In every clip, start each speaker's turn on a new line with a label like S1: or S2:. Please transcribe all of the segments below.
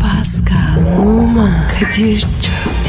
S1: Pascal, Oman, Kadir çok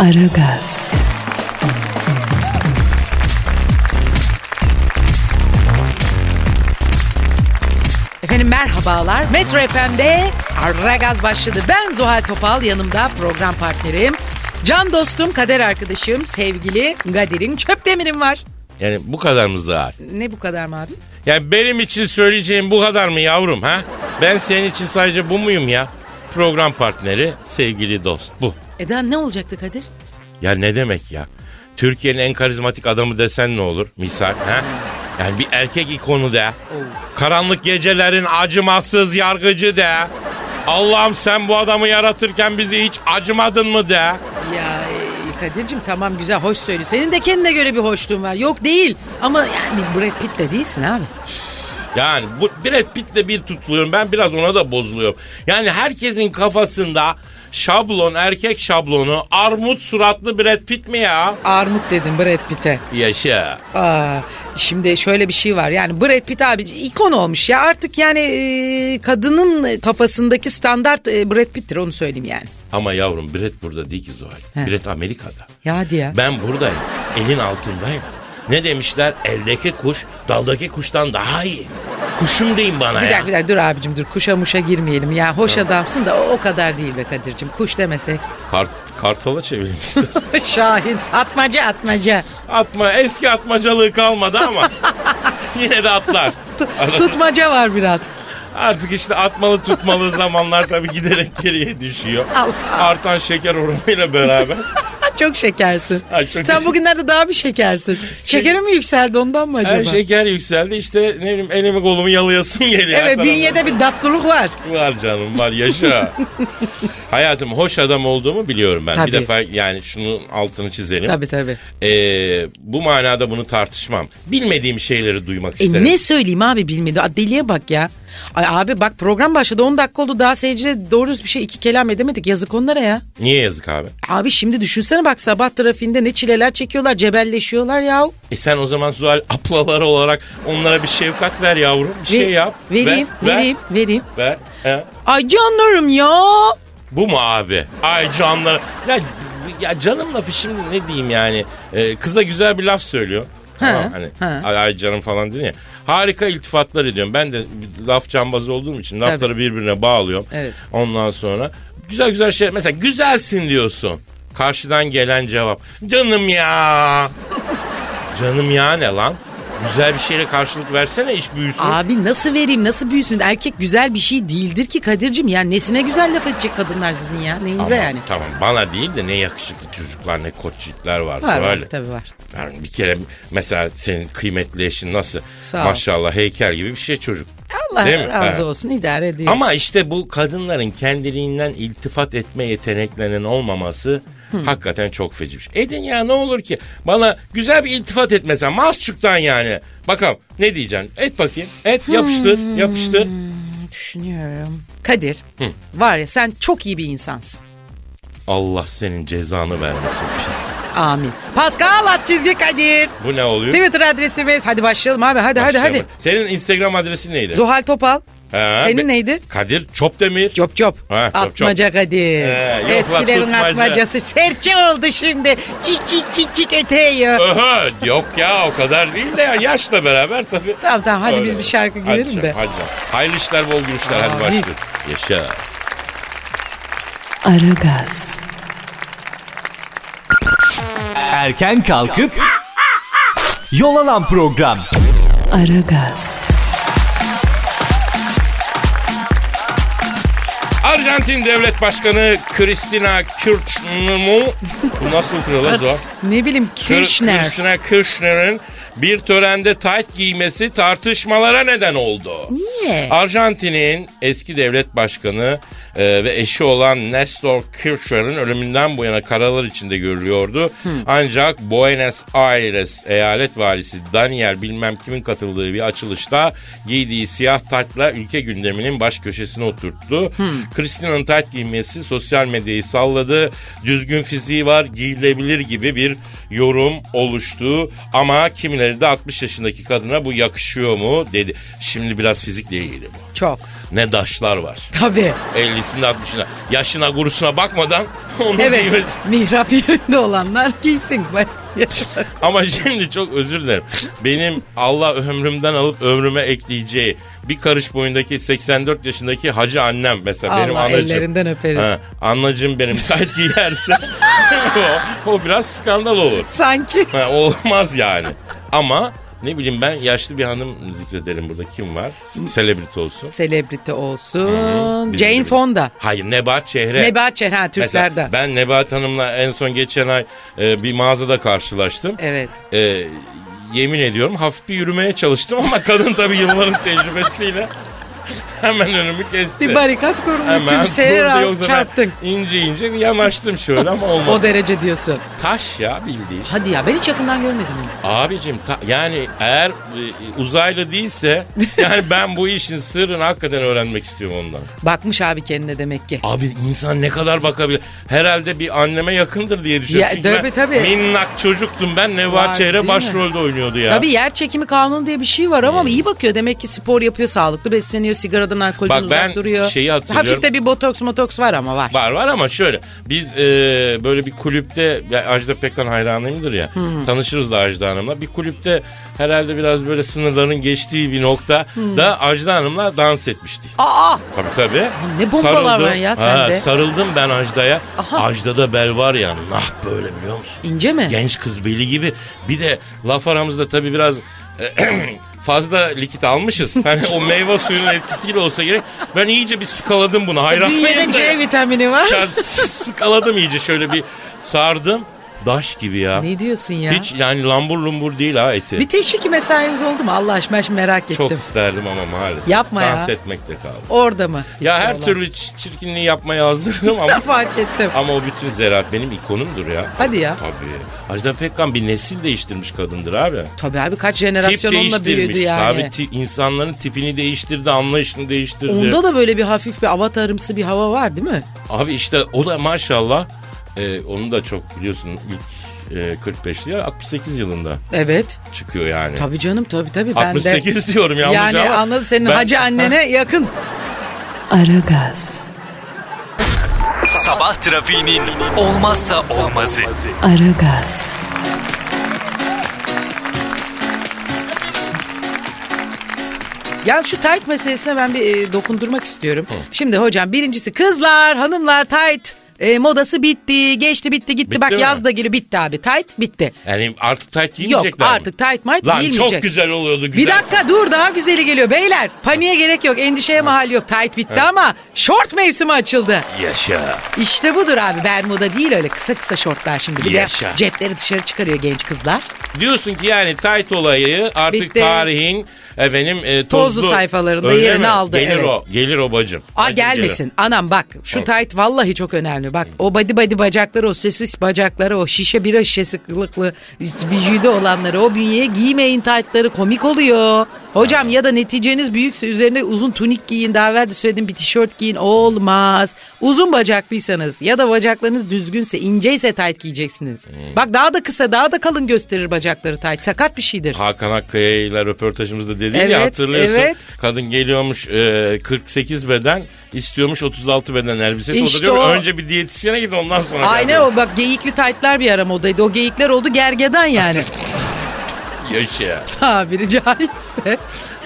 S1: Aragaz,
S2: Efendim merhabalar. Metro FM'de Aragaz başladı. Ben Zuhal Topal yanımda program partnerim. Can dostum, kader arkadaşım, sevgili Kadir'im, Çöpdemir'im var.
S3: Yani bu kadar mı zar?
S2: Ne bu kadar mı abi?
S3: Yani benim için söyleyeceğim bu kadar mı yavrum ha? Ben senin için sadece bu muyum ya? Program partneri, sevgili dost bu.
S2: Eda ne olacaktı Kadir?
S3: Ya ne demek ya? Türkiye'nin en karizmatik adamı desen ne olur? Misal ha? Yani bir erkek ikonu de. Karanlık gecelerin acımasız yargıcı de. Allah'ım sen bu adamı yaratırken bizi hiç acımadın mı de.
S2: Ya e, Kadir'cim tamam güzel hoş söylüyor. Senin de kendine göre bir hoşluğun var. Yok değil ama yani Brad Pitt de değilsin abi.
S3: Yani bu Brad Pitt'le bir tutuluyorum. Ben biraz ona da bozuluyorum. Yani herkesin kafasında şablon, erkek şablonu, armut suratlı Brad Pitt mi ya?
S2: Armut dedim Brad Pitt'e.
S3: Yaşa.
S2: Aa, şimdi şöyle bir şey var yani Brad Pitt abi ikon olmuş ya artık yani e, kadının kafasındaki standart e, Brad Pitt'tir onu söyleyeyim yani.
S3: Ama yavrum Brad burada değil ki Zuhal.
S2: He.
S3: Brad Amerika'da.
S2: Ya hadi ya.
S3: Ben buradayım. Elin altındayım. Ne demişler? Eldeki kuş daldaki kuştan daha iyi. Kuşum deyin bana
S2: bir
S3: ya.
S2: dakika bir dakika dur abicim dur kuşa muşa girmeyelim ya hoş adamsın da o, o kadar değil be Kadir'cim kuş demesek.
S3: Kart- kartala çevirmiş.
S2: Şahin atmaca atmaca
S3: Atma eski atmacalığı kalmadı ama yine de atlar.
S2: Tu- tutmaca var biraz.
S3: Artık işte atmalı tutmalı zamanlar tabii giderek geriye düşüyor.
S2: Allah.
S3: Artan şeker oranıyla beraber.
S2: Çok şekersin.
S3: Ay, çok
S2: Sen
S3: teşekkür-
S2: bugünlerde daha bir şekersin. Şekerim mi yükseldi ondan mı acaba?
S3: Her şeker yükseldi işte ne bileyim elimi kolumu yalayasım geliyor.
S2: evet
S3: Her
S2: bünyede bir tatlılık var.
S3: tarafım Var canım var yaşa. Hayatım hoş adam olduğumu biliyorum ben.
S2: Tabii.
S3: Bir defa yani şunun altını çizelim.
S2: Tabii tabii.
S3: Ee, bu manada bunu tartışmam. Bilmediğim şeyleri duymak
S2: E
S3: isterim.
S2: ne söyleyeyim abi bilmedi. Aa, Deliye bak ya. Ay abi bak program başladı 10 dakika oldu daha seyirciye doğru düzgün bir şey iki kelam edemedik. Yazık onlara ya.
S3: Niye yazık abi?
S2: Abi şimdi düşünsene bak sabah trafiğinde ne çileler çekiyorlar cebelleşiyorlar ya.
S3: E sen o zaman Zuhal aplalar olarak onlara bir şefkat ver yavrum. Bir şey yap.
S2: Vereyim
S3: Ver,
S2: vereyim vereyim.
S3: Ver, ver. He.
S2: Ay canlarım ya.
S3: Bu mu abi? Ay canlar. Ya, ya canım lafı şimdi ne diyeyim yani. Ee, kıza güzel bir laf söylüyor. Tamam, hani,
S2: ha.
S3: ay, ay canım falan diyor ya. Harika iltifatlar ediyorum. Ben de bir laf cambazı olduğum için lafları birbirine bağlıyorum.
S2: Evet.
S3: Ondan sonra güzel güzel şey. Mesela güzelsin diyorsun. Karşıdan gelen cevap. Canım ya. canım ya ne lan? Güzel bir şeyle karşılık versene iş büyüsün.
S2: Abi nasıl vereyim nasıl büyüsün erkek güzel bir şey değildir ki Kadir'cim ya nesine güzel laf edecek kadınlar sizin ya neyinize
S3: Aman,
S2: yani.
S3: Tamam bana değil de ne yakışıklı çocuklar ne koççikler vardı.
S2: Var var
S3: öyle.
S2: tabii var.
S3: Yani bir kere mesela senin kıymetli eşin nasıl?
S2: Sağ ol.
S3: Maşallah heykel gibi bir şey çocuk.
S2: Allah
S3: Değil mi?
S2: razı
S3: Ha.
S2: olsun idare edeyim.
S3: Ama işte bu kadınların kendiliğinden iltifat etme yeteneklerinin olmaması hakikaten çok feci bir şey. Edin ya ne olur ki bana güzel bir iltifat et mesela masçuktan yani. Bakalım ne diyeceksin? Et bakayım. Et
S2: Hmm.
S3: yapıştır yapıştır.
S2: Düşünüyorum. Kadir var ya sen çok iyi bir insansın.
S3: Allah senin cezanı vermesin pis.
S2: Amin. Pascal at çizgi Kadir.
S3: Bu ne oluyor?
S2: Twitter adresimiz. Hadi başlayalım abi hadi hadi
S3: Başlayalım.
S2: hadi.
S3: Senin Instagram adresin neydi?
S2: Zuhal Topal.
S3: Ha,
S2: Senin
S3: be-
S2: neydi?
S3: Kadir Çopdemir.
S2: Cop cop.
S3: Ha, cop cop.
S2: Atmaca Kadir.
S3: Ee, yok lan,
S2: Eskilerin
S3: tutmaca.
S2: atmacası. Serçe oldu şimdi. Çik çik çik çik eteği.
S3: Aha, yok ya o kadar değil de ya yaşla beraber tabii.
S2: Tamam, tamam, hadi biz bir şarkı
S3: Hadi
S2: girelim
S3: canım,
S2: de.
S3: Hadi. canım. Hayırlı işler bol gülüşler hadi
S2: Amin.
S3: başlıyoruz. Yaşa.
S1: Aragaz,
S4: Erken kalkıp yol alan program.
S1: Aragaz,
S3: Arjantin Devlet Başkanı Cristina Kirchner Bu nasıl okunuyor lan Zuhal?
S2: Ne bileyim
S3: Kır-
S2: Kirchner.
S3: Cristina Kirchner'ın bir törende tayt giymesi tartışmalara neden oldu.
S2: Niye?
S3: Arjantin'in eski devlet başkanı e, ve eşi olan Nestor Kirchner'ın ölümünden bu yana karalar içinde görülüyordu.
S2: Hmm.
S3: Ancak Buenos Aires eyalet valisi Daniel bilmem kimin katıldığı bir açılışta giydiği siyah taytla ülke gündeminin baş köşesine oturttu. Christina'nın tayt giymesi sosyal medyayı salladı. Düzgün fiziği var giyilebilir gibi bir yorum oluştu. Ama kimileri de 60 yaşındaki kadına bu yakışıyor mu dedi. Şimdi biraz fizikle ilgili bu.
S2: Çok.
S3: Ne daşlar var.
S2: Tabii.
S3: 50'sinde 60'ına. Yaşına gurusuna bakmadan onu
S2: Evet.
S3: giymesi-
S2: Mihrap yerinde olanlar giysin. Ben-
S3: Ama şimdi çok özür dilerim. Benim Allah ömrümden alıp ömrüme ekleyeceği bir karış boyundaki 84 yaşındaki hacı annem mesela benim
S2: Allah
S3: anacığım.
S2: ellerinden öperiz.
S3: Ha, anacığım benim tayt giyerse o, o biraz skandal olur.
S2: Sanki.
S3: Ha, olmaz yani. Ama ne bileyim ben yaşlı bir hanım zikrederim burada kim var? Selebriti olsun.
S2: Selebriti olsun.
S3: Bizim
S2: Jane
S3: gibi.
S2: Fonda.
S3: Hayır Nebahat Şehre.
S2: Nebahat Çehre ha,
S3: Mesela
S2: Türklerden.
S3: ben Nebahat Hanım'la en son geçen ay e, bir mağazada karşılaştım.
S2: Evet.
S3: E, yemin ediyorum hafif bir yürümeye çalıştım ama kadın tabii yılların tecrübesiyle hemen önümü kesti.
S2: Bir barikat kurmuş.
S3: Hemen
S2: Tümseye
S3: durdu,
S2: ra-
S3: yoksa ben
S2: çarptın.
S3: ince ince bir yanaştım şöyle ama olmadı.
S2: O derece diyorsun.
S3: Taş ya bildiğin.
S2: Hadi ya ben hiç yakından görmedim. onu.
S3: Abicim ta- yani eğer e, uzaylı değilse yani ben bu işin sırrını hakikaten öğrenmek istiyorum ondan.
S2: Bakmış abi kendine demek ki.
S3: Abi insan ne kadar bakabilir? Herhalde bir anneme yakındır diye düşünüyorum.
S2: Ya,
S3: Çünkü
S2: tabii,
S3: ben
S2: tabii.
S3: Minnak çocuktum ben.
S2: Var,
S3: Nevat
S2: değil mi?
S3: Çehre başrolde oynuyordu ya.
S2: Tabii yer çekimi kanunu diye bir şey var
S3: Ee.
S2: ama iyi bakıyor. Demek ki spor yapıyor, sağlıklı besleniyor, sigaradan, alkolden
S3: Bak
S2: uzak
S3: ben
S2: duruyor.
S3: şeyi hatırlıyorum.
S2: Hafif de bir botoks motoks var ama var.
S3: Var var ama şöyle biz e, böyle bir kulüpte ya Ajda Pekkan hayranıyımdır ya
S2: Hmm.
S3: tanışırız da Ajda Hanım'la bir kulüpte herhalde biraz böyle sınırların geçtiği bir nokta
S2: Hmm.
S3: da Ajda Hanım'la dans etmiştik.
S2: Aa!
S3: Tabii tabii.
S2: ne bombalar var ya sende.
S3: Sarıldım ben Ajda'ya.
S2: Aha.
S3: Ajda'da bel var ya nah böyle biliyor musun?
S2: İnce mi?
S3: Genç kız beli gibi. Bir de laf aramızda tabii biraz fazla likit almışız. Hani o meyve suyunun etkisiyle olsa gerek. Ben iyice bir skaladım bunu. Hayranlıyım
S2: Bünyede
S3: da ya.
S2: C vitamini var.
S3: Ya s- skaladım iyice şöyle bir sardım. Daş gibi ya.
S2: Ne diyorsun ya?
S3: Hiç yani lambur lumbur değil ha eti.
S2: Bir teşvik mesaimiz oldu mu? Allah aşkına ben şimdi merak ettim.
S3: Çok isterdim ama maalesef.
S2: Yapma ya.
S3: Dans etmekte kaldı.
S2: Orada mı?
S3: Ya
S2: Gitti
S3: her
S2: olan.
S3: türlü ç- çirkinliği yapmaya hazırdım ama
S2: Fark ettim.
S3: ama o bütün zerahat benim ikonumdur ya.
S2: Hadi ya.
S3: Tabii. Ajda Pekkan bir nesil değiştirmiş kadındır abi.
S2: Tabii abi kaç
S3: Tip
S2: jenerasyon onunla büyüdü
S3: değiştirmiş.
S2: yani.
S3: Tabii ti- insanların tipini değiştirdi, anlayışını değiştirdi.
S2: Onda da böyle bir hafif bir avatarımsı bir hava var değil mi?
S3: Abi işte o da maşallah e, onu da çok biliyorsun ilk e, 45'li ya 68 yılında
S2: Evet.
S3: çıkıyor yani.
S2: Tabii canım tabii tabii. Ben de-
S3: 68 diyorum yanlış
S2: Yani
S3: ama.
S2: anladım senin
S3: Ben-
S2: hacı annene yakın.
S1: Aragaz,
S4: Sabah trafiğinin olmazsa olmazı.
S1: Aragaz,
S2: Ya şu tight meselesine ben bir e, dokundurmak istiyorum. Şimdi hocam birincisi kızlar, hanımlar tight e, modası bitti, geçti bitti gitti.
S3: Bitti
S2: Bak
S3: mi?
S2: yaz da geliyor bitti abi tight bitti.
S3: Yani artık tayt
S2: Yok
S3: giymeyecekler mi?
S2: artık tight might
S3: Lan
S2: giyilmeyecek.
S3: çok güzel oluyordu güzel.
S2: Bir dakika dur daha güzeli geliyor beyler. Paniğe gerek yok, endişeye mahal yok. Tight bitti ama short mevsimi açıldı.
S3: Yaşa.
S2: İşte budur abi Bermuda değil öyle kısa kısa şortlar şimdi. Bir de
S3: Yaşa.
S2: cepleri dışarı çıkarıyor genç kızlar.
S3: Diyorsun ki yani tayt olayı artık
S2: Bitti.
S3: tarihin efendim e,
S2: Tozlu
S3: tozlu,
S2: sayfalarında
S3: Öyle
S2: yerini
S3: mi?
S2: aldı,
S3: Gelir
S2: evet.
S3: o. Gelir o bacım.
S2: Aa
S3: Bacım
S2: gelmesin.
S3: gelir.
S2: Anam bak şu tayt vallahi çok önemli. Bak o body body bacakları, o sosis bacakları, o şişe bira şişesi kılıklı vücudu olanları, o bünyeye giymeyin taytları komik oluyor. Hocam ya da neticeniz büyükse üzerine uzun tunik giyin. Daha evvel de söylediğim bir tişört giyin. Olmaz. Uzun bacaklıysanız ya da bacaklarınız düzgünse, inceyse tayt giyeceksiniz. Bak daha da kısa, daha da kalın gösterir bacakları tayt. Sakat bir şeydir.
S3: Hakan Akkaya ile röportajımızda dedi
S2: Evet,
S3: ya hatırlıyorsun.
S2: evet.
S3: Kadın geliyormuş e, 48 beden istiyormuş 36 beden elbisesi.
S2: İşte
S3: o da diyor
S2: o.
S3: önce bir diyetisyene git ondan sonra. gel
S2: Aynen
S3: diyor.
S2: o bak geyikli taytlar bir ara modaydı. O geyikler oldu gergedan yani.
S3: Yaşa.
S2: tabiri caizse.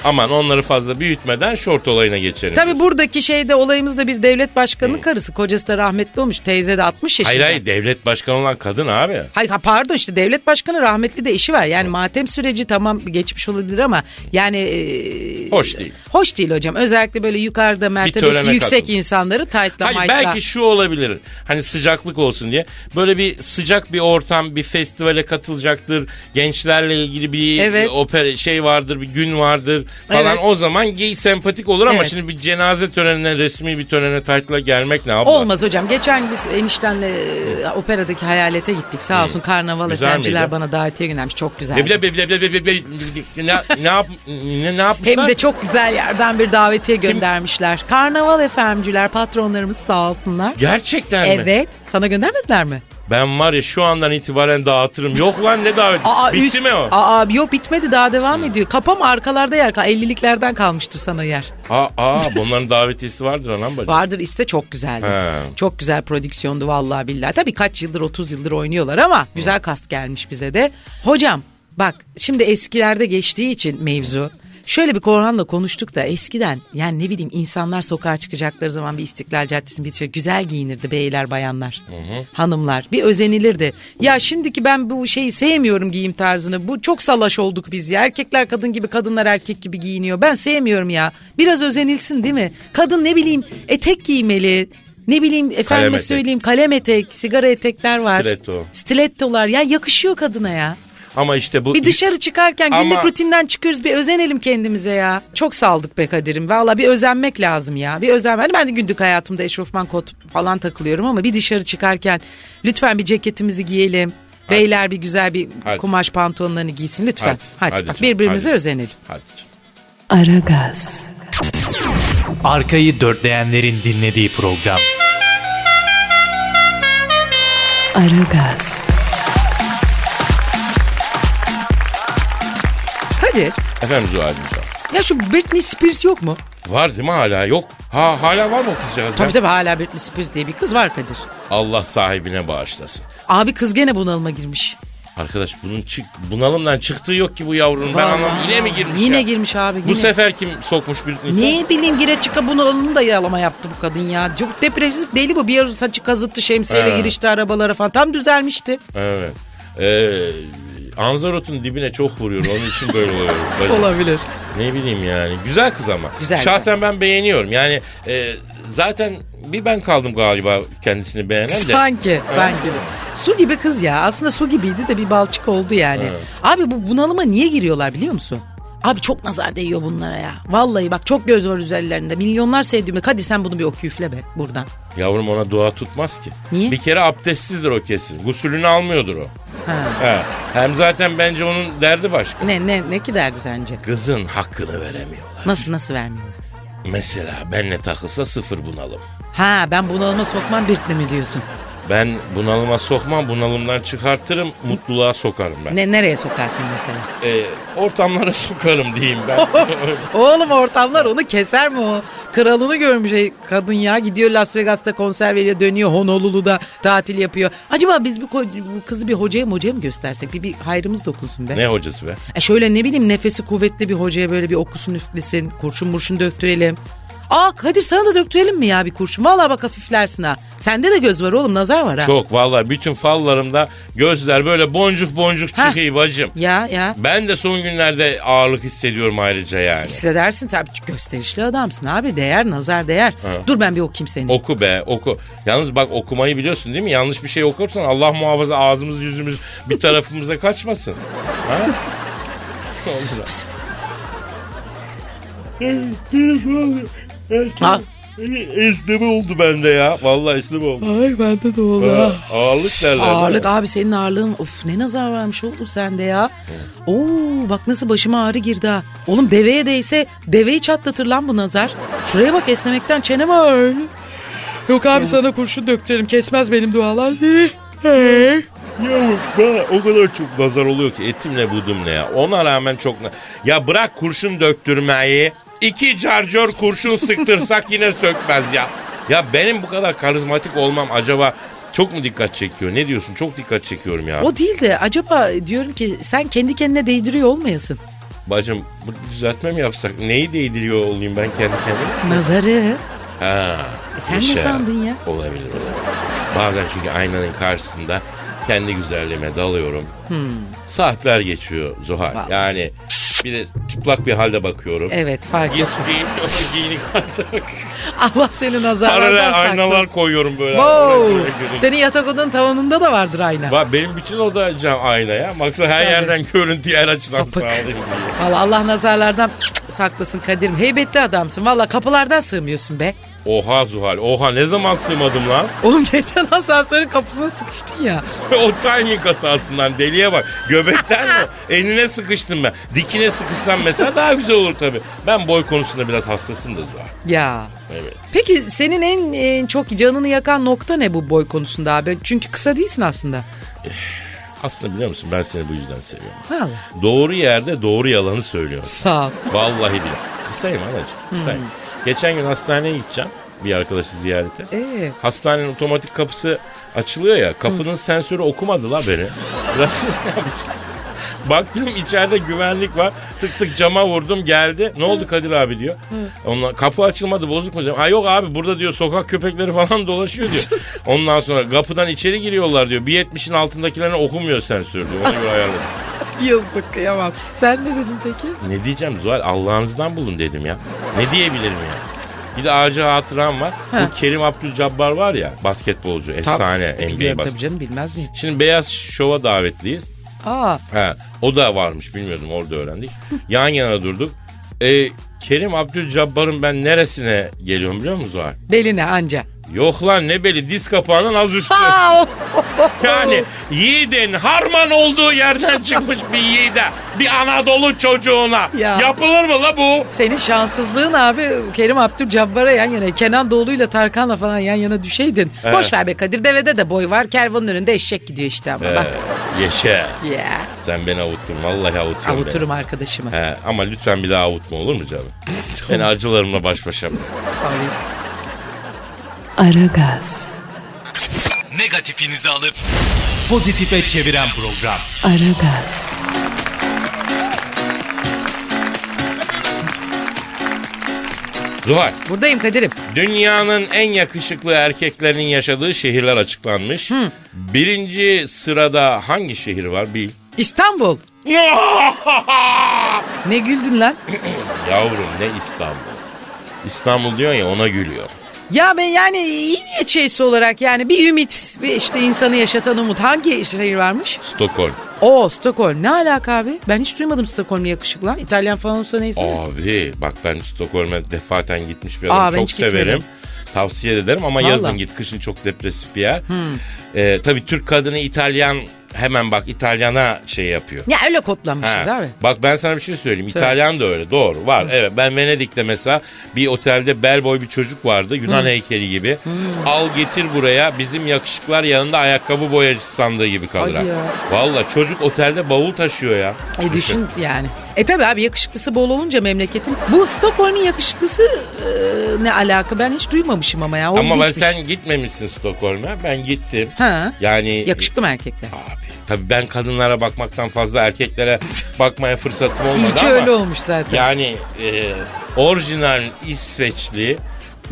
S3: Aman onları fazla büyütmeden şort olayına geçelim.
S2: Tabii buradaki şeyde olayımızda bir devlet başkanının karısı. Kocası da rahmetli olmuş. Teyze de 60 yaşında.
S3: Hayır hayır devlet başkanı olan kadın abi.
S2: Hayır ha, pardon işte devlet başkanı rahmetli de işi var. Yani matem süreci tamam geçmiş olabilir ama yani... e,
S3: Hoş değil.
S2: Hoş değil hocam. Özellikle böyle yukarıda mertebesi
S3: törene
S2: yüksek
S3: katıldı.
S2: insanları taytla
S3: Hayır
S2: maytla.
S3: belki şu olabilir. Hani sıcaklık olsun diye. Böyle bir sıcak bir ortam, bir festivale katılacaktır. Gençlerle ilgili bir
S2: Evet.
S3: opera şey vardır, bir gün vardır falan.
S2: Evet.
S3: O zaman giy sempatik olur ama
S2: Evet.
S3: şimdi bir cenaze törenine, resmi bir törene taytla gelmek ne yapar?
S2: Olmaz hocam. Geçen biz eniştenle e, operadaki hayalete gittik. Sağ olsun karnaval
S3: Güzel
S2: efendiler
S3: miydi? E,
S2: bana davetiye göndermiş. Çok güzel.
S3: Ne bile- bile- bile- bile- bile- bile- bile- ne ne yap ne, ne yapmışlar?
S2: Hem de çok güzel yerden bir davetiye göndermişler. Karnaval efemciler patronlarımız sağ olsunlar.
S3: Gerçekten mi?
S2: Evet. Sana göndermediler mi?
S3: Ben var ya şu andan itibaren dağıtırım. Yok lan ne davet? Bitti
S2: üst-
S3: mi o?
S2: Aa yok bitmedi daha devam ediyor. Kapam arkalarda yer. kal- 50'liklerden kalmıştır sana yer.
S3: Aa, aa bunların davetiyesi vardır anam bacım.
S2: Vardır iste çok güzeldi.
S3: He.
S2: Çok güzel prodüksiyondu vallahi billahi. Tabii kaç yıldır 30 yıldır oynuyorlar ama güzel kast gelmiş bize de. Hocam bak şimdi eskilerde geçtiği için mevzu. Şöyle bir Korhan'la konuştuk da eskiden yani ne bileyim insanlar sokağa çıkacakları zaman bir İstiklal Caddesi'nin bir şey güzel giyinirdi beyler bayanlar hanımlar bir özenilirdi. Ya şimdiki ben bu şeyi sevmiyorum giyim tarzını bu çok salaş olduk biz ya erkekler kadın gibi kadınlar erkek gibi giyiniyor ben sevmiyorum ya biraz özenilsin değil mi? Kadın ne bileyim etek giymeli ne bileyim efendim
S3: etek.
S2: söyleyeyim kalem etek sigara etekler var.
S3: Stiletto.
S2: Stilettolar ya yakışıyor kadına ya.
S3: Ama işte bu
S2: Bir dışarı çıkarken günlük
S3: Ama-
S2: rutinden çıkıyoruz bir özenelim kendimize ya. Çok saldık be Kadir'im. Valla bir özenmek lazım ya. Bir özen. Hani ben de günlük hayatımda eşofman kot falan takılıyorum ama bir dışarı çıkarken lütfen bir ceketimizi giyelim. Beyler bir güzel bir
S3: Hadi.
S2: kumaş pantolonlarını giysin lütfen.
S3: Hadi.
S2: Hadi,
S3: Hadi
S2: bak
S3: canım,
S2: birbirimize
S3: hadi.
S2: özenelim.
S3: Hadi.
S1: Aragaz,
S4: Arkayı dörtleyenlerin dinlediği program.
S1: Aragaz,
S2: Kadir
S3: Efendim Zuhal'cim. canım.
S2: ya şu Britney Spears yok mu?
S3: Var değil mi hala yok? Ha hala var mı o kızcağız?
S2: Tabii
S3: ya?
S2: tabii hala Britney Spears diye bir kız var Kadir.
S3: Allah sahibine bağışlasın.
S2: Abi kız gene bunalıma girmiş.
S3: Arkadaş bunun çık bunalımdan çıktığı yok ki bu yavrunun. Ben
S2: Vallahi.
S3: anlamadım. Yine mi girmiş
S2: Yine
S3: ya?
S2: girmiş abi.
S3: Bu
S2: yine.
S3: sefer kim sokmuş Britney Spears?
S2: Ne bileyim gire çıka bunu alın da yalama yaptı bu kadın ya. Çok depresif deli bu. Bir ara saçı kazıttı şemsiyeyle
S3: He.
S2: girişti arabalara falan. Tam düzelmişti.
S3: Evet. Ee, Anzarot'un dibine çok vuruyor. Onun için böyle oluyor. Bacım.
S2: Olabilir.
S3: Ne bileyim yani. Güzel kız ama.
S2: Güzel,
S3: Şahsen ben beğeniyorum. Yani e, zaten bir ben kaldım galiba kendisini beğenen de.
S2: Sanki sanki. Su gibi kız ya. Aslında su gibiydi de bir balçık oldu yani. Abi bu bunalıma niye giriyorlar biliyor musun? Abi çok nazar değiyor bunlara ya. Vallahi bak çok göz var üzerlerinde. Milyonlar sevdiğimi. Kadir sen bunu bir oku üfle be buradan.
S3: Yavrum ona dua tutmaz ki.
S2: Niye?
S3: Bir kere abdestsizdir o kesin. Gusülünü almıyordur o.
S2: Ha.
S3: He. Hem zaten bence onun derdi başka.
S2: Ne ne ne ki derdi sence?
S3: Kızın hakkını veremiyorlar.
S2: Nasıl nasıl vermiyorlar?
S3: Mesela benle takılsa sıfır bunalım.
S2: Ha ben bunalıma sokmam Britney mi diyorsun?
S3: Ben bunalıma sokmam, bunalımdan çıkartırım, mutluluğa sokarım ben.
S2: Ne, nereye sokarsın mesela?
S3: Ee, ortamlara sokarım diyeyim ben.
S2: Oğlum ortamlar onu keser mi o? Kralını görmüş şey kadın ya gidiyor Las Vegas'ta konser veriyor dönüyor Honolulu'da tatil yapıyor. Acaba biz bu, ko- bu kızı bir hocaya mı hocaya mı göstersek bir, bir hayrımız dokunsun be.
S3: ne hocası be?
S2: E şöyle ne bileyim nefesi kuvvetli bir hocaya böyle bir okusun üflesin kurşun burşun döktürelim. Aa Kadir sana da döktürelim mi ya bir kurşun? Vallahi bak hafiflersin ha. Sende de göz var oğlum nazar var ha.
S3: Çok vallahi bütün fallarımda gözler böyle boncuk boncuk
S2: Hah.
S3: çıkıyor bacım.
S2: Ya ya.
S3: Ben de son günlerde ağırlık hissediyorum ayrıca yani.
S2: Hissedersin tabii çünkü gösterişli adamsın abi değer nazar değer. Dur ben bir okuyayım seni.
S3: Oku be oku. Yalnız bak okumayı biliyorsun değil mi? Yanlış bir şey okursan Allah muhafaza ağzımız yüzümüz bir tarafımıza kaçmasın. Ha? Olur.
S2: Ha.
S3: Esneme oldu bende ya. Vallahi esneme oldu.
S2: Ay bende de oldu. Ah.
S3: Ha, Ah. Ağırlık derler.
S2: Ağırlık abi senin ağırlığın. Of ne nazar varmış oğlum sende ya. Oo bak nasıl başıma ağrı girdi ha. Oğlum deveye değse deveyi çatlatır lan bu nazar. Şuraya bak esnemekten çenem ağır. Yok abi sana kurşun döktürelim kesmez benim dualar.
S3: Yavrum bana o kadar çok nazar oluyor ki etimle budum ne ya. Ona rağmen çok... na- Ya bırak kurşun döktürmeyi. İki carcör kurşun sıktırsak yine sökmez ya. Ya benim bu kadar karizmatik olmam acaba çok mu dikkat çekiyor? Ne diyorsun? Çok dikkat çekiyorum ya.
S2: o değil de acaba diyorum ki sen kendi kendine değdiriyor olmayasın.
S3: Bacım bu düzeltme mi yapsak? Neyi değdiriyor olayım ben kendi kendime?
S2: Nazarı.
S3: Ha.
S2: E sen ne
S3: yaşa.
S2: sandın ya?
S3: Olabilir olabilir. Bazen çünkü aynanın karşısında kendi güzelliğime dalıyorum. Saatler geçiyor Zuhal.
S2: Hmm. Vallahi. E,
S3: Yani bir de çıplak bir halde bakıyorum.
S2: Evet fark ettim.
S3: Giyin, giyinik halde bakıyorum.
S2: Allah seni nazarlardan
S3: Paralel aynalar
S2: saklasın.
S3: koyuyorum böyle. Böyle,
S2: Wow.
S3: böyle görüyorum.
S2: Senin yatak odanın tavanında da vardır ayna.
S3: Bak benim bütün oda cam aynaya. Maksat her
S2: Tabii.
S3: yerden görüntü her açıdan
S2: Sapık.
S3: sağlayayım diye.
S2: Vallahi Allah nazarlardan saklasın Kadir'im. Heybetli adamsın. Valla kapılardan sığmıyorsun be.
S3: Oha Zuhal. Oha ne zaman sığmadım lan?
S2: Oğlum geçen asansörün kapısına sıkıştın ya.
S3: o timing hatasından deliye bak. Göbekten mi? Eline sıkıştım ben. Dikine sıkışsam mesela daha güzel olur tabii. Ben boy konusunda biraz hassasım da Zuhal.
S2: Ya.
S3: Evet.
S2: Peki senin en, en çok canını yakan nokta ne bu boy konusunda abi? Çünkü kısa değilsin aslında.
S3: Aslında biliyor musun ben seni bu yüzden seviyorum.
S2: Vallahi.
S3: Doğru yerde doğru yalanı söylüyorsun.
S2: Sağ ol.
S3: Vallahi billahi. Kısayım anacığım. Kısayım. Geçen gün hastaneye gideceğim. Bir arkadaşı ziyarete.
S2: Ee?
S3: Hastanenin otomatik kapısı açılıyor ya. Kapının sensörü okumadı la beni. Biraz Baktım içeride güvenlik var. Tık tık cama vurdum geldi. Ne oldu Kadir abi diyor. Ondan kapı açılmadı bozuk mu diyor. Ha yok abi burada diyor sokak köpekleri falan dolaşıyor diyor. Ondan sonra kapıdan içeri giriyorlar diyor. Bir yetmişin altındakilerine okumuyor sensör diyor. Ona göre ayarladım.
S2: Yazık kıyamam. Sen ne dedin peki?
S3: Ne diyeceğim Zuhal Allah'ınızdan bulun dedim ya. Ne diyebilirim ya? Bir de ağacı hatıram var. Bu Kerim Abdülcabbar var ya basketbolcu efsane NBA
S2: Biliyorum tabii
S3: basketbolcu.
S2: canım bilmez miyim?
S3: Şimdi Beyaz Şov'a davetliyiz.
S2: Aa
S3: Ha, o da varmış bilmiyordum orada öğrendik. Yan yana durduk. E, Kerim Abdülcabbar'ın ben neresine geliyorum biliyor musun Zuhal?
S2: beline anca.
S3: Yok lan ne beli diz kapağının az üstü.
S2: Aa,
S3: Yani yiğidin harman olduğu yerden çıkmış bir yiğide. Bir Anadolu çocuğuna.
S2: Ya.
S3: Yapılır mı la bu?
S2: Senin şanssızlığın abi Kerim Abdülcabbar'a yan yana Kenan Doğulu'yla Tarkan'la falan yan yana düşeydin.
S3: Evet.
S2: Boş ver be Kadir devede de boy var kervanın önünde eşek gidiyor işte ama
S3: Ee,
S2: bak.
S3: Yeşe.
S2: Yeah.
S3: Sen beni avuttun. Vallahi avutuyorsun
S2: Avuturum arkadaşımı.
S3: beni. He, ama lütfen bir daha avutma olur mu canım? Beni acılarımla baş başa bırak.
S2: Sorry.
S1: Aragaz,
S4: Negatifinizi alıp pozitife çeviren program.
S1: Aragaz,
S3: Zuhal,
S2: Buradayım Kadir'im.
S3: dünyanın en yakışıklı erkeklerinin yaşadığı şehirler açıklanmış. Birinci sırada hangi şehir var bil.
S2: İstanbul. Ne güldün lan?
S3: Yavrum ne İstanbul. İstanbul diyor ya ona gülüyor.
S2: Ya ben yani iyi niyetçisi olarak yani bir ümit ve işte insanı yaşatan umut. Hangi şehir varmış?
S3: Stockholm.
S2: O Stockholm. Ne alaka abi? Ben hiç duymadım Stockholm'u yakışık lan. İtalyan falan olsa neyse.
S3: Abi bak ben Stockholm'e defaten gitmiş bir adam
S2: Aa, ben
S3: çok
S2: hiç
S3: severim.
S2: gitmedim.
S3: Tavsiye ederim ama
S2: Vallahi.
S3: yazın git kışın çok depresif bir yer. Ee, tabii Türk kadını İtalyan hemen bak İtalyana şey yapıyor.
S2: Ya öyle kodlanmışız
S3: Ha,
S2: abi.
S3: Bak ben sana bir şey söyleyeyim.
S2: Söyle.
S3: İtalyan da öyle doğru var. Evet ben Venedik'te mesela bir otelde bellboy bir çocuk vardı Yunan heykeli gibi. Al getir buraya bizim yakışıklar yanında ayakkabı boyacısı sandığı gibi kalır.
S2: Hadi
S3: ha.
S2: ya.
S3: Valla çocuk otelde bavul taşıyor ya.
S2: E düşün yani. E tabi abi yakışıklısı bol olunca memleketin. Bu Stockholm'un yakışıklısı e, ne alaka ben hiç duymamışım ama ya. O
S3: Ama ben
S2: ilginçmiş.
S3: sen gitmemişsin Stockholm'e. Ben gittim.
S2: Ha.
S3: Yani
S2: Yakışıklı mı erkekler?
S3: Abi tabii ben kadınlara bakmaktan fazla erkeklere bakmaya fırsatım olmadı
S2: İyi ki
S3: ama
S2: öyle olmuş zaten.
S3: yani e, orijinal İsveçli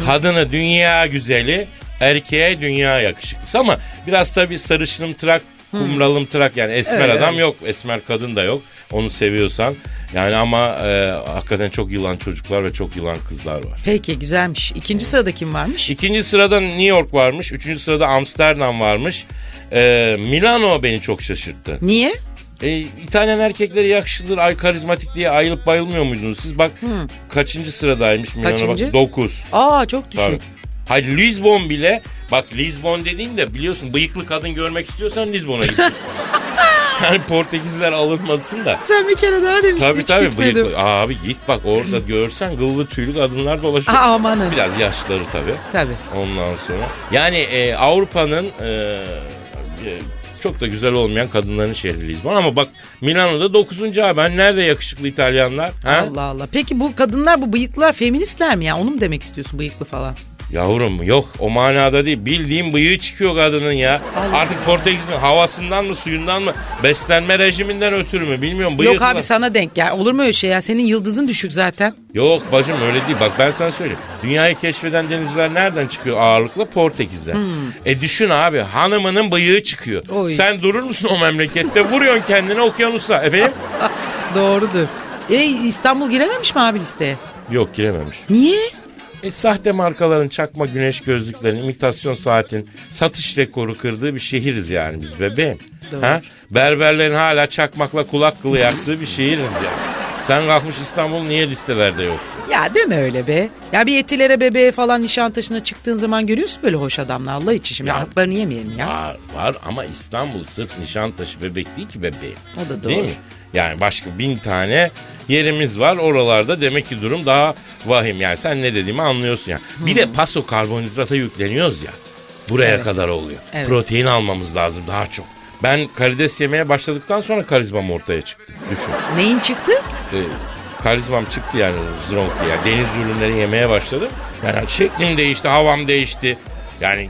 S3: kadını dünya güzeli erkeğe dünya yakışıklısı ama biraz tabii sarışınım tırak kumralım tırak yani esmer
S2: Öyle,
S3: adam
S2: öyle.
S3: yok esmer kadın da yok onu seviyorsan yani ama e, hakikaten çok yılan çocuklar ve çok yılan kızlar var.
S2: Peki güzelmiş. İkinci sırada kim varmış?
S3: İkinci sırada New York varmış. Üçüncü sırada Amsterdam varmış. E, Milano beni çok şaşırttı.
S2: Niye?
S3: E, İtalyan erkekleri yakışıklıdır, ay karizmatik diye ayılıp bayılmıyor muydunuz siz? Bak kaçıncı sıradaymış Milano
S2: Kaçıncı?
S3: bak 9.
S2: Aa çok düşük.
S3: Tabii. Hayır Lisbon bile bak Lisbon dediğin de biliyorsun bıyıklı kadın görmek istiyorsan Lisbon'a git. yani Portekizler alınmasın da.
S2: Sen bir kere daha demiştin
S3: Tabii
S2: hiç
S3: tabii
S2: gitmedim.
S3: bıyıklı. Abi git bak orada görsen gıllı tüylü kadınlar dolaşıyor.
S2: Aa, amanın.
S3: Biraz yaşları tabii.
S2: Tabii.
S3: Ondan sonra. Yani e, Avrupa'nın e, e, çok da güzel olmayan kadınların şehri Lisbon. Ama bak Milano'da 9. abi. Ben nerede yakışıklı İtalyanlar? Ha?
S2: Allah Allah. Peki bu kadınlar bu bıyıklar feministler mi ya? Onu mu demek istiyorsun bıyıklı falan?
S3: Yavrum yok o manada değil. Bildiğin bıyığı çıkıyor kadının ya.
S2: Allah.
S3: Artık Portekiz'in havasından mı suyundan mı beslenme rejiminden ötürü mü bilmiyorum. Bıyıklı.
S2: Yok abi sana denk ya. Olur mu öyle şey ya? Senin yıldızın düşük zaten.
S3: Yok bacım öyle değil. Bak ben sana söyleyeyim. Dünyayı keşfeden denizciler nereden çıkıyor ağırlıkla? Portekiz'den. E düşün abi hanımının bıyığı çıkıyor.
S2: Hmm. Oy.
S3: Sen durur musun o memlekette? Vuruyorsun kendini okyanusa. Efendim?
S2: Doğrudur. E İstanbul girememiş mi abi listeye?
S3: Yok girememiş.
S2: Niye?
S3: E, sahte markaların çakma güneş gözlüklerinin, imitasyon saatin satış rekoru kırdığı bir şehiriz yani biz bebeğim.
S2: Doğru.
S3: Ha? Berberlerin hala çakmakla kulak kılı yaktığı bir şehiriz yani. Sen kalkmış İstanbul niye listelerde yok?
S2: Ya deme öyle be. Ya bir etilere bebeğe falan Nişantaşı'na çıktığın zaman görüyorsun böyle hoş adamlar. Allah için şimdi haklarını yemeyelim ya.
S3: Var, var ama İstanbul sırf Nişantaşı bebek değil ki bebeğim.
S2: O da
S3: Değil
S2: doğru.
S3: mi? Yani başka bin tane yerimiz var oralarda demek ki durum daha vahim. Yani sen ne dediğimi anlıyorsun ya. Bir de paso karbonhidrata yükleniyoruz ya. Buraya
S2: Evet.
S3: kadar oluyor.
S2: Evet.
S3: Protein almamız lazım daha çok. Ben karides yemeye başladıktan sonra karizmam ortaya çıktı. Düşün.
S2: Neyin çıktı?
S3: Ee, karizmam çıktı yani zronk diye. Deniz ürünleri yemeye başladım. Yani şeklim değişti, havam değişti. Yani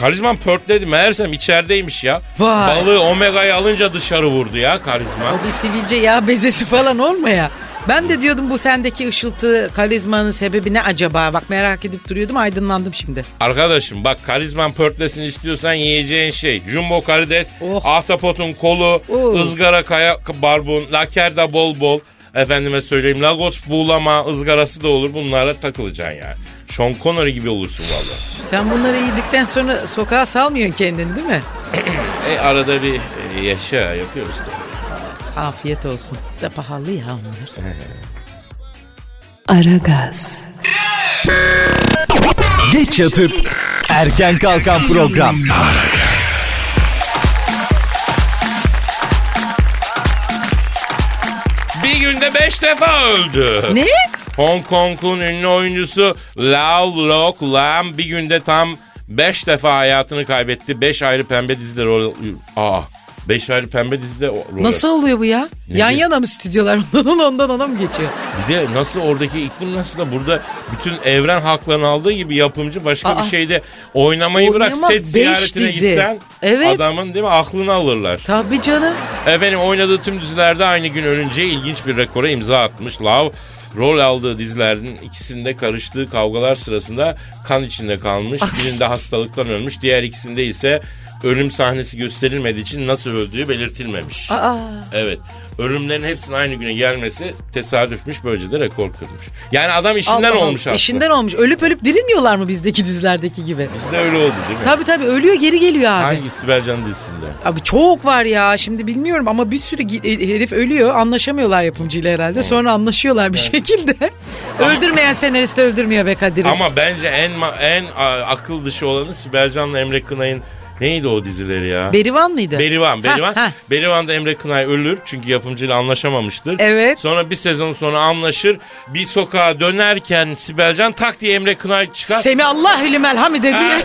S3: karizmam pörtledi. Meğersem içerideymiş ya.
S2: Vay.
S3: Balığı omega'yı alınca dışarı vurdu ya karizma.
S2: O bir sivilce yağ bezesi falan olmaya. Ben de diyordum bu sendeki ışıltı, karizmanın sebebi ne acaba? Bak merak edip duruyordum aydınlandım şimdi.
S3: Arkadaşım bak karizman pörtlesin istiyorsan yiyeceğin şey. Jumbo karides,
S2: Oh.
S3: ahtapotun kolu,
S2: Oh.
S3: ızgara kaya barbun, lakerda bol bol. Efendime söyleyeyim lagos buğulama ızgarası da olur. Bunlara takılacaksın yani. Sean Connery gibi olursun vallahi.
S2: Sen bunları yedikten sonra sokağa salmıyorsun kendini değil mi?
S3: E arada bir e, yaşa yapıyoruz tabii.
S2: Afiyet olsun. Da pahalı ya onlar.
S1: Aragaz,
S4: Geç yatıp erken kalkan program.
S3: Bir günde beş defa öldü.
S2: Ne?
S3: Hong Kong'un ünlü oyuncusu Lau Lok Lam bir günde tam beş defa hayatını kaybetti. Beş ayrı pembe dizide rol... Aa, beş ayrı pembe dizide o- rol.
S2: Nasıl oluyor bu ya?
S3: Ne
S2: Yan
S3: diyor?
S2: yana mı stüdyolar ondan ona, ondan ona mı geçiyor?
S3: Bir de nasıl oradaki iklim nasıl da burada bütün evren haklarını aldığı gibi yapımcı başka
S2: Aa.
S3: bir şeyde oynamayı
S2: Oynayamaz,
S3: bırak set
S2: beş
S3: ziyaretine
S2: dizi.
S3: gitsen
S2: Evet.
S3: adamın değil mi aklını alırlar.
S2: Tabii canım.
S3: Efendim oynadığı tüm dizilerde aynı gün ölünce ilginç bir rekora imza atmış. Love rol aldığı dizilerin ikisinde karıştığı kavgalar sırasında kan içinde kalmış.
S2: Ah.
S3: Birinde hastalıktan ölmüş. Diğer ikisinde ise ölüm sahnesi gösterilmediği için nasıl öldüğü belirtilmemiş.
S2: Aa.
S3: Evet. Ölümlerin hepsinin aynı güne gelmesi tesadüfmüş. Böylece de rekor kırmış. Yani adam işinden
S2: Allah'ım,
S3: olmuş aslında.
S2: İşinden olmuş. Ölüp ölüp dirilmiyorlar mı bizdeki dizilerdeki gibi?
S3: Bizde öyle oldu değil mi?
S2: Tabii tabii ölüyor geri geliyor abi.
S3: Hangi Sibel Can dizisinde?
S2: Abi çok var ya şimdi bilmiyorum ama bir sürü gi- e- herif ölüyor anlaşamıyorlar yapımcıyla herhalde
S3: Hmm.
S2: sonra anlaşıyorlar bir şekilde. Öldürmeyen senarist öldürmüyor be Kadir'im.
S3: Ama bence en ma- en a- akıl dışı olanı Sibel Can'la Emre Kınay'ın neydi o dizileri ya?
S2: Berivan mıydı?
S3: Berivan, Berivan.
S2: Ha, ha.
S3: Berivan'da Emre Kınay ölür çünkü yapımcıyla anlaşamamıştır.
S2: Evet.
S3: Sonra bir sezon sonra anlaşır. Bir sokağa dönerken Sibelcan tak diye Emre Kınay çıkar.
S2: Semi Allah hamide
S3: Ha,
S2: diye.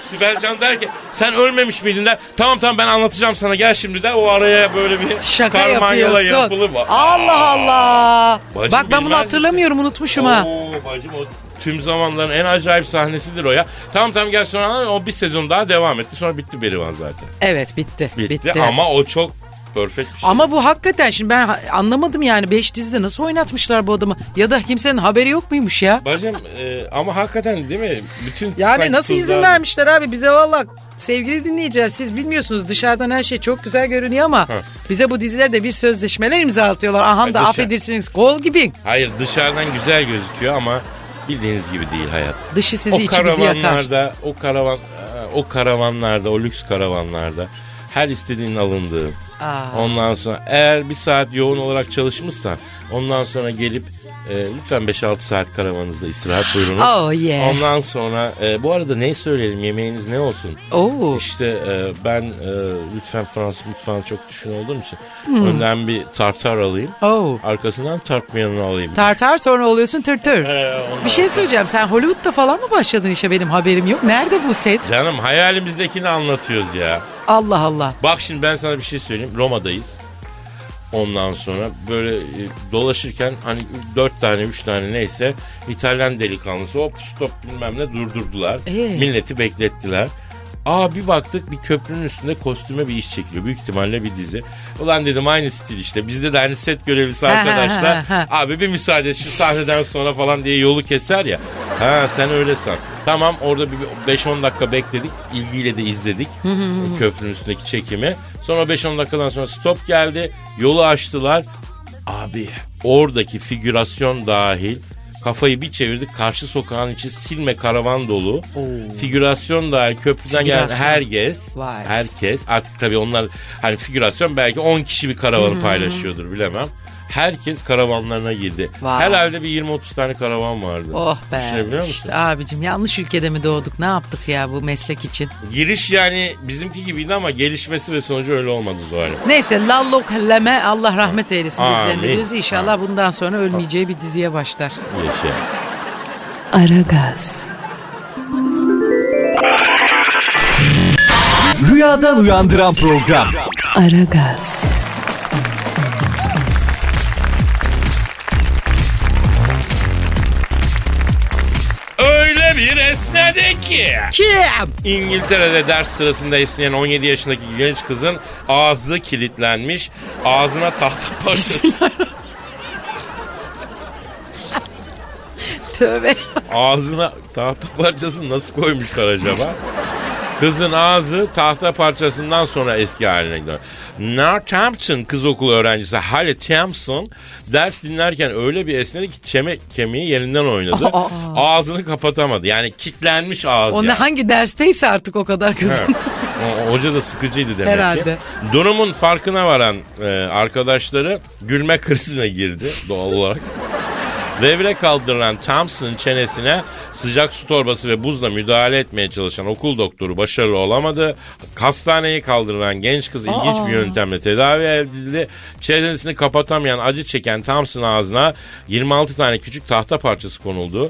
S3: Sibelcan der ki sen ölmemiş miydin der. Tamam tamam ben anlatacağım sana gel şimdi der. O araya böyle bir
S2: Şaka
S3: karmanyala yapılır.
S2: yapıyorsun. Allah Allah.
S3: Bacım
S2: Bak ben bunu
S3: bilmez
S2: hatırlamıyorum unutmuşum ha.
S3: Oo, bacım o tüm zamanların en acayip sahnesidir o ya. Tamam tamam gel sonra anlat. o bir sezon daha devam etti. Sonra bitti Berivan zaten.
S2: Evet bitti. Bitti,
S3: Bitti, ama o çok perfect bir şey.
S2: Ama bu hakikaten şimdi ben ha- anlamadım yani 5 dizide nasıl oynatmışlar bu adamı ya da kimsenin haberi yok muymuş ya?
S3: Bacım e, ama hakikaten değil mi? Bütün
S2: Yani
S3: sanki
S2: nasıl izin
S3: tuzlar-
S2: vermişler abi bize valla sevgili dinleyeceğiz siz bilmiyorsunuz dışarıdan her şey çok güzel görünüyor ama
S3: Heh.
S2: bize bu dizilerde bir sözleşmeler imza atıyorlar. Aha da
S3: dışarı-
S2: affedersiniz kol gibi.
S3: Hayır dışarıdan güzel gözüküyor ama bildiğiniz gibi değil hayat.
S2: Dışı sizi
S3: o
S2: içi bizi yakar.
S3: karavanlarda, o karavan e, o karavanlarda, o lüks karavanlarda her istediğin alındığı.
S2: Aa.
S3: Ondan sonra eğer bir saat yoğun olarak çalışmışsan ondan sonra gelip e, lütfen 5-6 saat karavanınızda istirahat buyurunuz.
S2: Oh yeah.
S3: Ondan sonra e, bu arada ne söyleyelim yemeğiniz ne olsun?
S2: Oo.
S3: İşte e, ben e, lütfen Fransız mutfağını çok düşün olduğum için
S2: Hmm.
S3: önden bir tartar alayım.
S2: Oo.
S3: Arkasından tartmayanını alayım.
S2: oh. Tartar sonra oluyorsun tır tır.
S3: Ee, ondan-
S2: Bir şey söyleyeceğim sen Hollywood'da falan mı başladın işe benim haberim yok. Nerede bu set?
S3: Canım hayalimizdekini anlatıyoruz ya.
S2: Allah Allah.
S3: Bak şimdi ben sana bir şey söyleyeyim. Roma'dayız. Ondan sonra böyle e, dolaşırken hani dört tane üç tane neyse İtalyan delikanlısı hop stop bilmem ne durdurdular.
S2: Ee?
S3: Milleti beklettiler. Aa bir baktık bir köprünün üstünde kostüme bir iş çekiliyor. Büyük ihtimalle bir dizi. Ulan dedim aynı stil işte. Bizde de aynı set görevlisi
S2: ha,
S3: arkadaşlar.
S2: ha, ha.
S3: Abi bir müsaade şu sahneden sonra falan diye yolu keser ya. Ha sen öyle san. Tamam orada bir 5-10 dakika bekledik. İlgiyle de izledik köprünün üstündeki çekimi. Sonra 5-10 dakikadan sonra stop geldi. Yolu açtılar. Abi oradaki figürasyon dahil kafayı bir çevirdik. Karşı sokağın içi silme karavan dolu. Figürasyon dahil köprüden gelen
S2: Figürasyon.
S3: herkes.
S2: Vay.
S3: Herkes artık tabii onlar hani figürasyon belki 10 kişi bir karavanı paylaşıyordur bilemem. Herkes karavanlarına girdi.
S2: Vay.
S3: Herhalde bir 20-30 tane karavan vardı.
S2: Oh be.
S3: Düşünebiliyor musun?
S2: İşte abicim yanlış ülkede mi doğduk? Ne yaptık ya bu meslek için?
S3: Giriş yani bizimki gibiydi ama gelişmesi ve sonucu öyle olmadı Zuhal'im.
S2: Neyse Lallo Kaleme Allah rahmet eylesin
S3: Amin.
S2: dizilerinde diyoruz. İnşallah bundan sonra ölmeyeceği bir diziye başlar.
S3: Yaşa.
S1: Aragaz,
S4: Rüyadan uyandıran program.
S1: Aragaz,
S3: Öyle bir esnedi ki.
S2: Kim?
S3: İngiltere'de ders sırasında esneyen 17 yaşındaki genç kızın ağzı kilitlenmiş. Ağzına tahta parçası.
S2: Tövbe.
S3: ağzına tahta parçasını nasıl koymuşlar acaba? Kızın ağzı tahta parçasından sonra eski haline gidiyor. Northampton kız okulu öğrencisi Halle Thompson ders dinlerken öyle bir esnedi ki çeme, kemiği yerinden oynadı.
S2: Aa.
S3: Ağzını kapatamadı. Yani kilitlenmiş ağzı.
S2: Onu
S3: yani.
S2: hangi dersteyse artık o kadar
S3: Evet.
S2: kızım.
S3: O- Hoca da sıkıcıydı demek
S2: Herhalde.
S3: ki. Durumun farkına varan e, arkadaşları gülme krizine girdi doğal olarak. Devre kaldırılan Thompson çenesine sıcak su torbası ve buzla müdahale etmeye çalışan okul doktoru başarılı olamadı. Hastaneye kaldırılan genç kız ilginç bir yöntemle tedavi edildi. Çenesini kapatamayan acı çeken Thompson ağzına 26 tane küçük tahta parçası konuldu.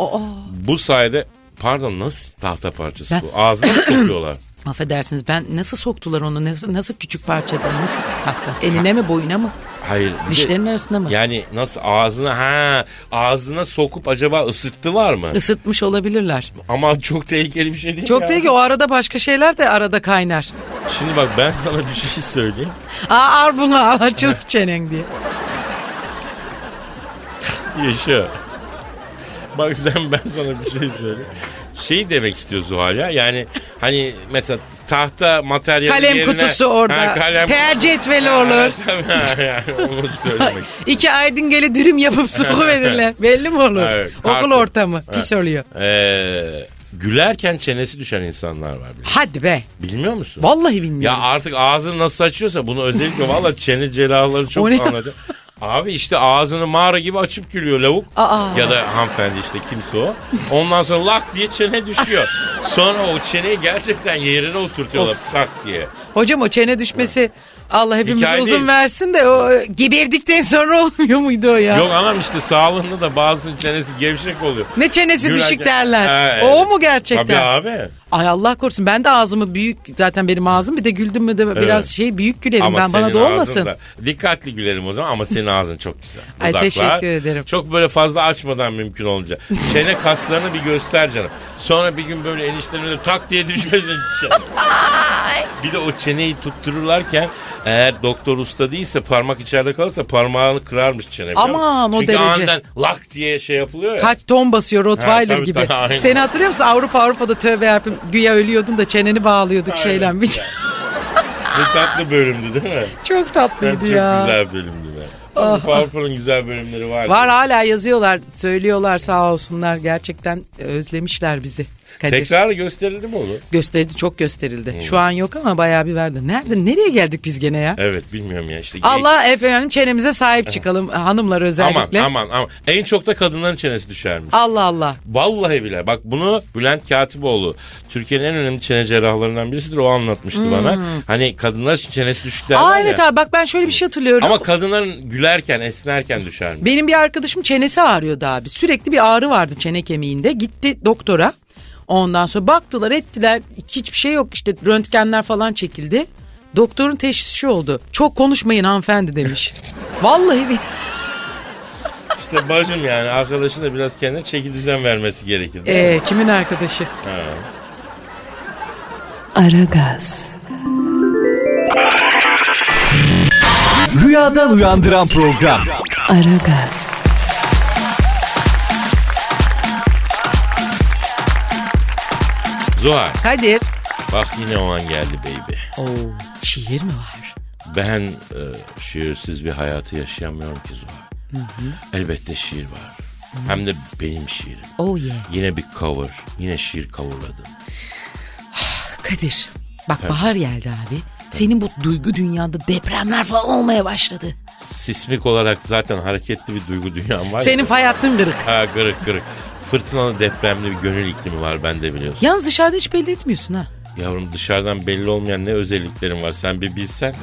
S3: Bu sayede pardon nasıl tahta parçası
S2: Ben-
S3: bu? Ağzına mı sokuyorlar?
S2: Affedersiniz ben nasıl soktular onu? Nasıl, nasıl küçük parçadan? Nasıl tahta? Eline mi boyuna mı?
S3: Hayır. bir de-
S2: Dişlerin arasına mı?
S3: Yani nasıl ağzına ha ağzına sokup acaba ısıttılar mı?
S2: Isıtmış olabilirler.
S3: Ama çok tehlikeli bir şey değil
S2: Çok
S3: ya.
S2: değil ki o arada başka şeyler de arada kaynar.
S3: Şimdi bak ben sana bir şey söyleyeyim.
S2: Aa ar bunu al açıl çenen diye.
S3: Yaşa. Bak sen ben sana bir şey söyleyeyim. Şey demek istiyor Zuhal ya. Yani hani mesela tahta materyal
S2: Kalem
S3: yerine-
S2: kutusu orada.
S3: Ha, kalem
S2: Tel cetveli olur.
S3: Ha, yani onu söylemek.
S2: İki aydın dürüm yapıp soku verirler. Belli mi olur?
S3: Evet,
S2: Okul
S3: kartın.
S2: ortamı pis oluyor.
S3: Ee, gülerken çenesi düşen insanlar var. biliyor musun?
S2: Hadi be.
S3: Bilmiyor musun?
S2: Vallahi bilmiyorum.
S3: Ya artık ağzını nasıl açıyorsa bunu özellikle valla çene cerrahları
S2: O
S3: çok
S2: ne?
S3: anladı. Abi işte ağzını mağara gibi açıp gülüyor lavuk.
S2: Aa.
S3: Ya da hanımefendi işte kimse o. Ondan sonra lak diye çene düşüyor. Sonra o çeneyi gerçekten yerine oturtuyorlar tak diye.
S2: Hocam o çene düşmesi Allah hepimiz
S3: Hikaye
S2: uzun
S3: değil.
S2: versin de o e, geberdikten sonra olmuyor muydu o ya?
S3: Yok anam işte sağlığında da bazının çenesi gevşek oluyor.
S2: Ne çenesi
S3: Gülerken-
S2: düşük derler.
S3: Ha, evet.
S2: O mu gerçekten?
S3: Tabii abi.
S2: Ay Allah korusun ben de ağzımı büyük zaten benim ağzım bir de güldüm mü de biraz şey büyük gülerim
S3: Ama
S2: ben bana
S3: senin
S2: da
S3: ağzın
S2: olmasın.
S3: da- dikkatli gülerim o zaman ama senin ağzın çok güzel.
S2: Ay,
S3: Dudaklar
S2: teşekkür ederim.
S3: Çok böyle fazla açmadan mümkün olunca. Çene kaslarını bir göster canım. Sonra bir gün böyle eniştenin öyle tak diye düşmesin canım. bir de o çeneyi tuttururlarken eğer doktor usta değilse parmak içeride kalırsa parmağını kırarmış çene. biliyor musun?
S2: Aman, o
S3: Çünkü
S2: derece.
S3: aniden lak diye şey yapılıyor ya.
S2: Kaç ton basıyor
S3: Ha,
S2: Rottweiler
S3: tabii,
S2: gibi.
S3: tabii, aynen.
S2: Seni hatırlıyor musun? Avrupa Avrupa'da tövbe yapayım güya ölüyordun da çeneni bağlıyorduk
S3: Aynen.
S2: şeyle. Bir-
S3: Ne tatlı bölümdü değil mi?
S2: Çok
S3: Çok
S2: tatlıydı ya. Ah,
S3: güzel bölümdü be. Avrupa Avrupa'nın güzel bölümleri var.
S2: Var hala yazıyorlar, söylüyorlar sağ olsunlar. Gerçekten e, özlemişler bizi. Kadir.
S3: Tekrar Hmm. gösterildi mi olur?
S2: Gösterildi, çok gösterildi. Şu an yok ama bayağı bir verdi. Nerede, nereye geldik biz gene ya?
S3: Evet bilmiyorum ya işte.
S2: Allah efendim çenemize sahip çıkalım e, hanımlar özellikle.
S3: Ee. Aman aman aman. En çok da kadınların çenesi düşermiş.
S2: Allah Allah.
S3: Vallahi bile. Bak bunu Bülent Katipoğlu Türkiye'nin en önemli çene cerrahlarından birisidir. O anlatmıştı bana. Hani kadınlar için çenesi düşük derler
S2: Hmm. Aa
S3: ya.
S2: evet abi bak ben şöyle bir şey hatırlıyorum.
S3: Ama kadınların gülerken, esnerken düşermiş.
S2: Benim bir arkadaşım çenesi ağrıyordu abi. Sürekli bir ağrı vardı çene kemiğinde. Gitti doktora. Ondan sonra baktılar ettiler. Hiçbir şey yok işte röntgenler falan çekildi. Doktorun teşhisi şu oldu. Çok konuşmayın hanımefendi demiş. Vallahi bir...
S3: İşte bacım yani arkadaşın da biraz kendine çeki düzen vermesi gerekir.
S2: Ee, kimin arkadaşı?
S1: Aragaz,
S4: Rüyadan uyandıran program.
S1: Aragaz,
S3: Zuhal
S2: Kadir.
S3: bak yine o an geldi baby.
S2: Oo, şiir mi var?
S3: Ben e, şiirsiz bir hayatı yaşayamıyorum ki Zuhal. Elbette şiir var. Hem de benim şiirim.
S2: Oh yeah.
S3: Yine bir cover. Yine şiir coverladım.
S2: Kadir. Bak bahar geldi abi. Senin bu duygu dünyanda depremler falan olmaya başladı.
S3: Sismik olarak zaten hareketli bir duygu dünyam var. ya.
S2: Senin fay hattın kırık.
S3: Ha kırık kırık. Fırtınalı depremli bir gönül iklimi var bende biliyorsun.
S2: Yalnız dışarıda hiç belli etmiyorsun ha.
S3: Yavrum dışarıdan belli olmayan ne özelliklerim var sen bir bilsen.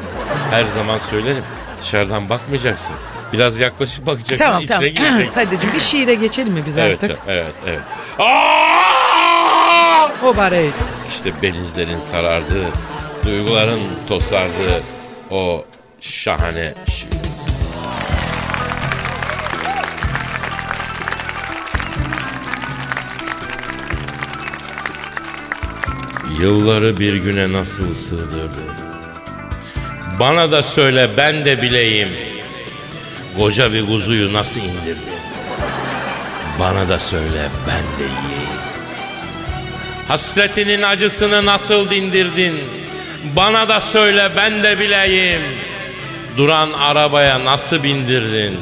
S3: Her zaman söylerim. Dışarıdan bakmayacaksın. Biraz yaklaşıp bakacaksın.
S2: Tamam
S3: içine
S2: tamam.
S3: gireceksin.
S2: Kadir'cim bir şiire geçelim mi biz
S3: evet,
S2: artık?
S3: evet evet. Aa!
S2: O bari.
S3: İşte benizlerin sarardığı, duyguların tosardığı o şahane şiir. Yılları bir güne nasıl sığdırdı? Bana da söyle ben de bileyim. Koca bir kuzuyu nasıl indirdi? Bana da söyle ben de yiyeyim. Hasretinin acısını nasıl dindirdin? Bana da söyle ben de bileyim. Duran arabaya nasıl bindirdin?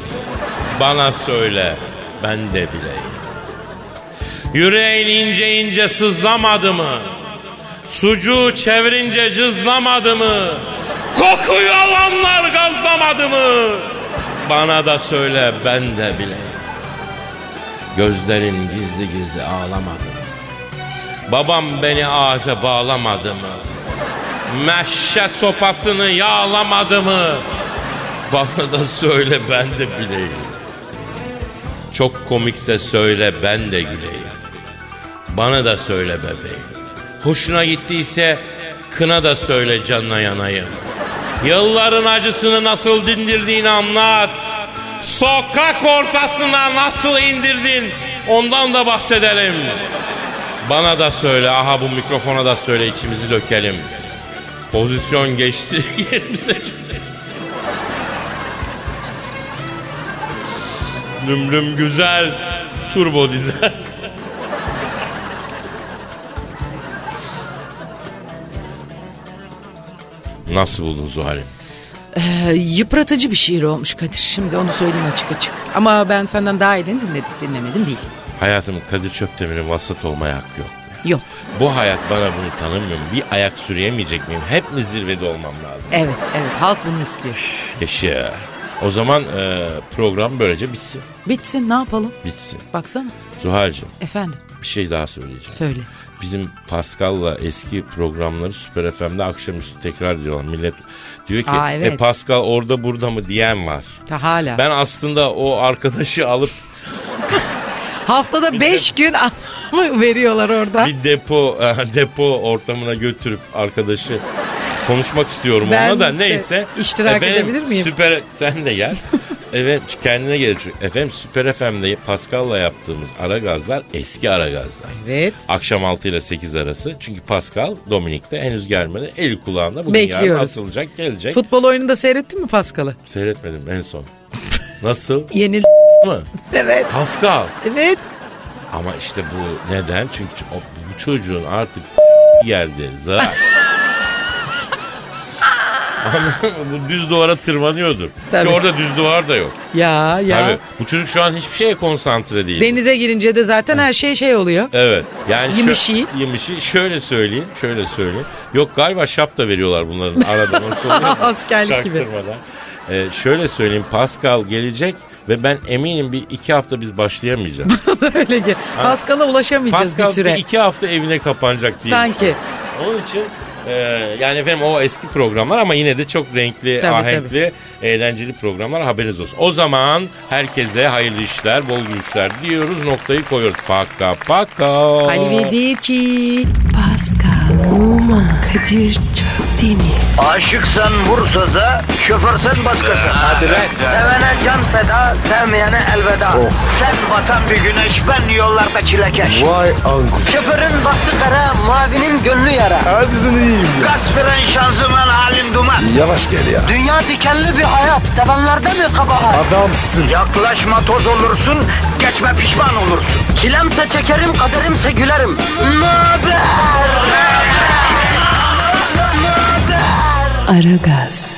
S3: Bana söyle ben de bileyim. Yüreğin ince ince sızlamadı mı? Sucuğu çevirince cızlamadı mı? Kokuyu alanlar gazlamadı mı? Bana da söyle ben de bileyim. Gözlerin gizli gizli ağlamadı mı? Babam beni ağaca bağlamadı mı? Meşe sopasını yağlamadı mı? Bana da söyle ben de bileyim. Çok komikse söyle ben de güleyim. Bana da söyle bebeğim. Hoşuna gittiyse kına da söyle canına yanayım. Yılların acısını nasıl dindirdiğini anlat. Sokak ortasına nasıl indirdin ondan da bahsedelim. Bana da söyle, aha bu mikrofona da söyle içimizi dökelim. Pozisyon geçti yerimize çökelim. Lüm lüm güzel, turbo dizel. Nasıl buldun Zuhal'im?
S2: Ee, yıpratıcı bir şiir olmuş Kadir. Şimdi onu söyleyeyim açık açık. Ama ben senden daha iyini dinledik dinlemedim değil.
S3: Hayatım Kadir Çöptemir'in vasat olmaya hakkı yok.
S2: Yok.
S3: Bu hayat bana bunu tanımıyor mu? Bir ayak sürüyemeyecek miyim? Hep mi zirvede olmam lazım?
S2: Evet evet halk bunu istiyor.
S3: Yaşa. O zaman e, program böylece bitsin.
S2: Bitsin ne yapalım?
S3: Bitsin.
S2: Baksana
S3: Zuhal'cığım
S2: efendim
S3: bir şey daha söyleyeceğim.
S2: söyle.
S3: Bizim Pascal'la eski programları Süper FM'de akşamüstü tekrar diyorlar. Millet diyor ki
S2: Aa, evet.
S3: e Pascal orada burada mı diyen var.
S2: Ta hala.
S3: Ben aslında o arkadaşı alıp
S2: Haftada 5 gün mı veriyorlar orada?
S3: bir depo depo ortamına götürüp arkadaşı konuşmak istiyorum
S2: Ben
S3: ona da
S2: de
S3: neyse.
S2: iştirak edebilir miyim?
S3: Süper sen de gel. evet kendine gel. çünkü. Efendim Süper FM'de Pascal'la yaptığımız ara gazlar eski ara gazlar.
S2: Evet.
S3: Akşam 6 ile 8 arası. Çünkü Pascal Dominik'te henüz gelmedi. El kulağında bugün yarın
S2: Bekliyoruz.
S3: atılacak gelecek.
S2: Futbol oyununu da seyrettin mi Paskal'ı?
S3: Seyretmedim en son. Nasıl
S2: Yenil.
S3: mı?
S2: Evet.
S3: Pascal.
S2: Evet.
S3: Ama işte bu neden? Çünkü o- bu çocuğun artık yerde zarar. Anladın mı? bu düz duvara tırmanıyordur.
S2: Tabii.
S3: Ki orada düz duvar da yok.
S2: Ya ya.
S3: Tabii. Bu çocuk şu an hiçbir şeye konsantre değil.
S2: Denize girince de zaten her şey şey oluyor.
S3: Evet. Yani şö-
S2: Yemişi.
S3: yemişi. Şöyle söyleyeyim. Şöyle söyleyeyim. Yok galiba şap da veriyorlar bunların aradan. Nasıl oluyor?
S2: Askerlik gibi.
S3: Çaktırmadan. Ee, şöyle söyleyeyim. Pascal gelecek ve ben eminim bir iki hafta biz başlayamayacağız.
S2: Öyle ki. Paskal'a ulaşamayacağız
S3: Pascal
S2: bir süre.
S3: iki hafta evine kapanacak diye.
S2: Sanki.
S3: Onun için e, yani efendim o eski programlar ama yine de çok renkli,
S2: Tabii,
S3: ahenkli, eğlenceli programlar haberiniz olsun. O zaman herkese hayırlı işler, bol gülüşler diyoruz. Noktayı koyuyoruz. Paka paka.
S2: Halvedici.
S1: Pascal, Aragaz, Oman, Kadir çok değil mi?
S5: Aşıksan vursa da, şoförsen başkasın. Hadi
S3: lan.
S5: Sevene can feda, sevmeyene elveda. Sen batan bir güneş, ben yollarda çilekeş.
S4: Vay anku.
S5: Şoförün baktı kara, mavinin gönlü yara.
S4: Hadi sen iyiyim ya.
S5: Kasperen şanzıman halin duman.
S4: Yavaş gel ya.
S5: Dünya dikenli bir hayat, sevenlerde mi kabahar?
S4: Adamsın.
S5: Yaklaşma toz olursun, geçme pişman olursun. Çilemse çekerim, kaderimse gülerim. Möber!
S1: Aragaz.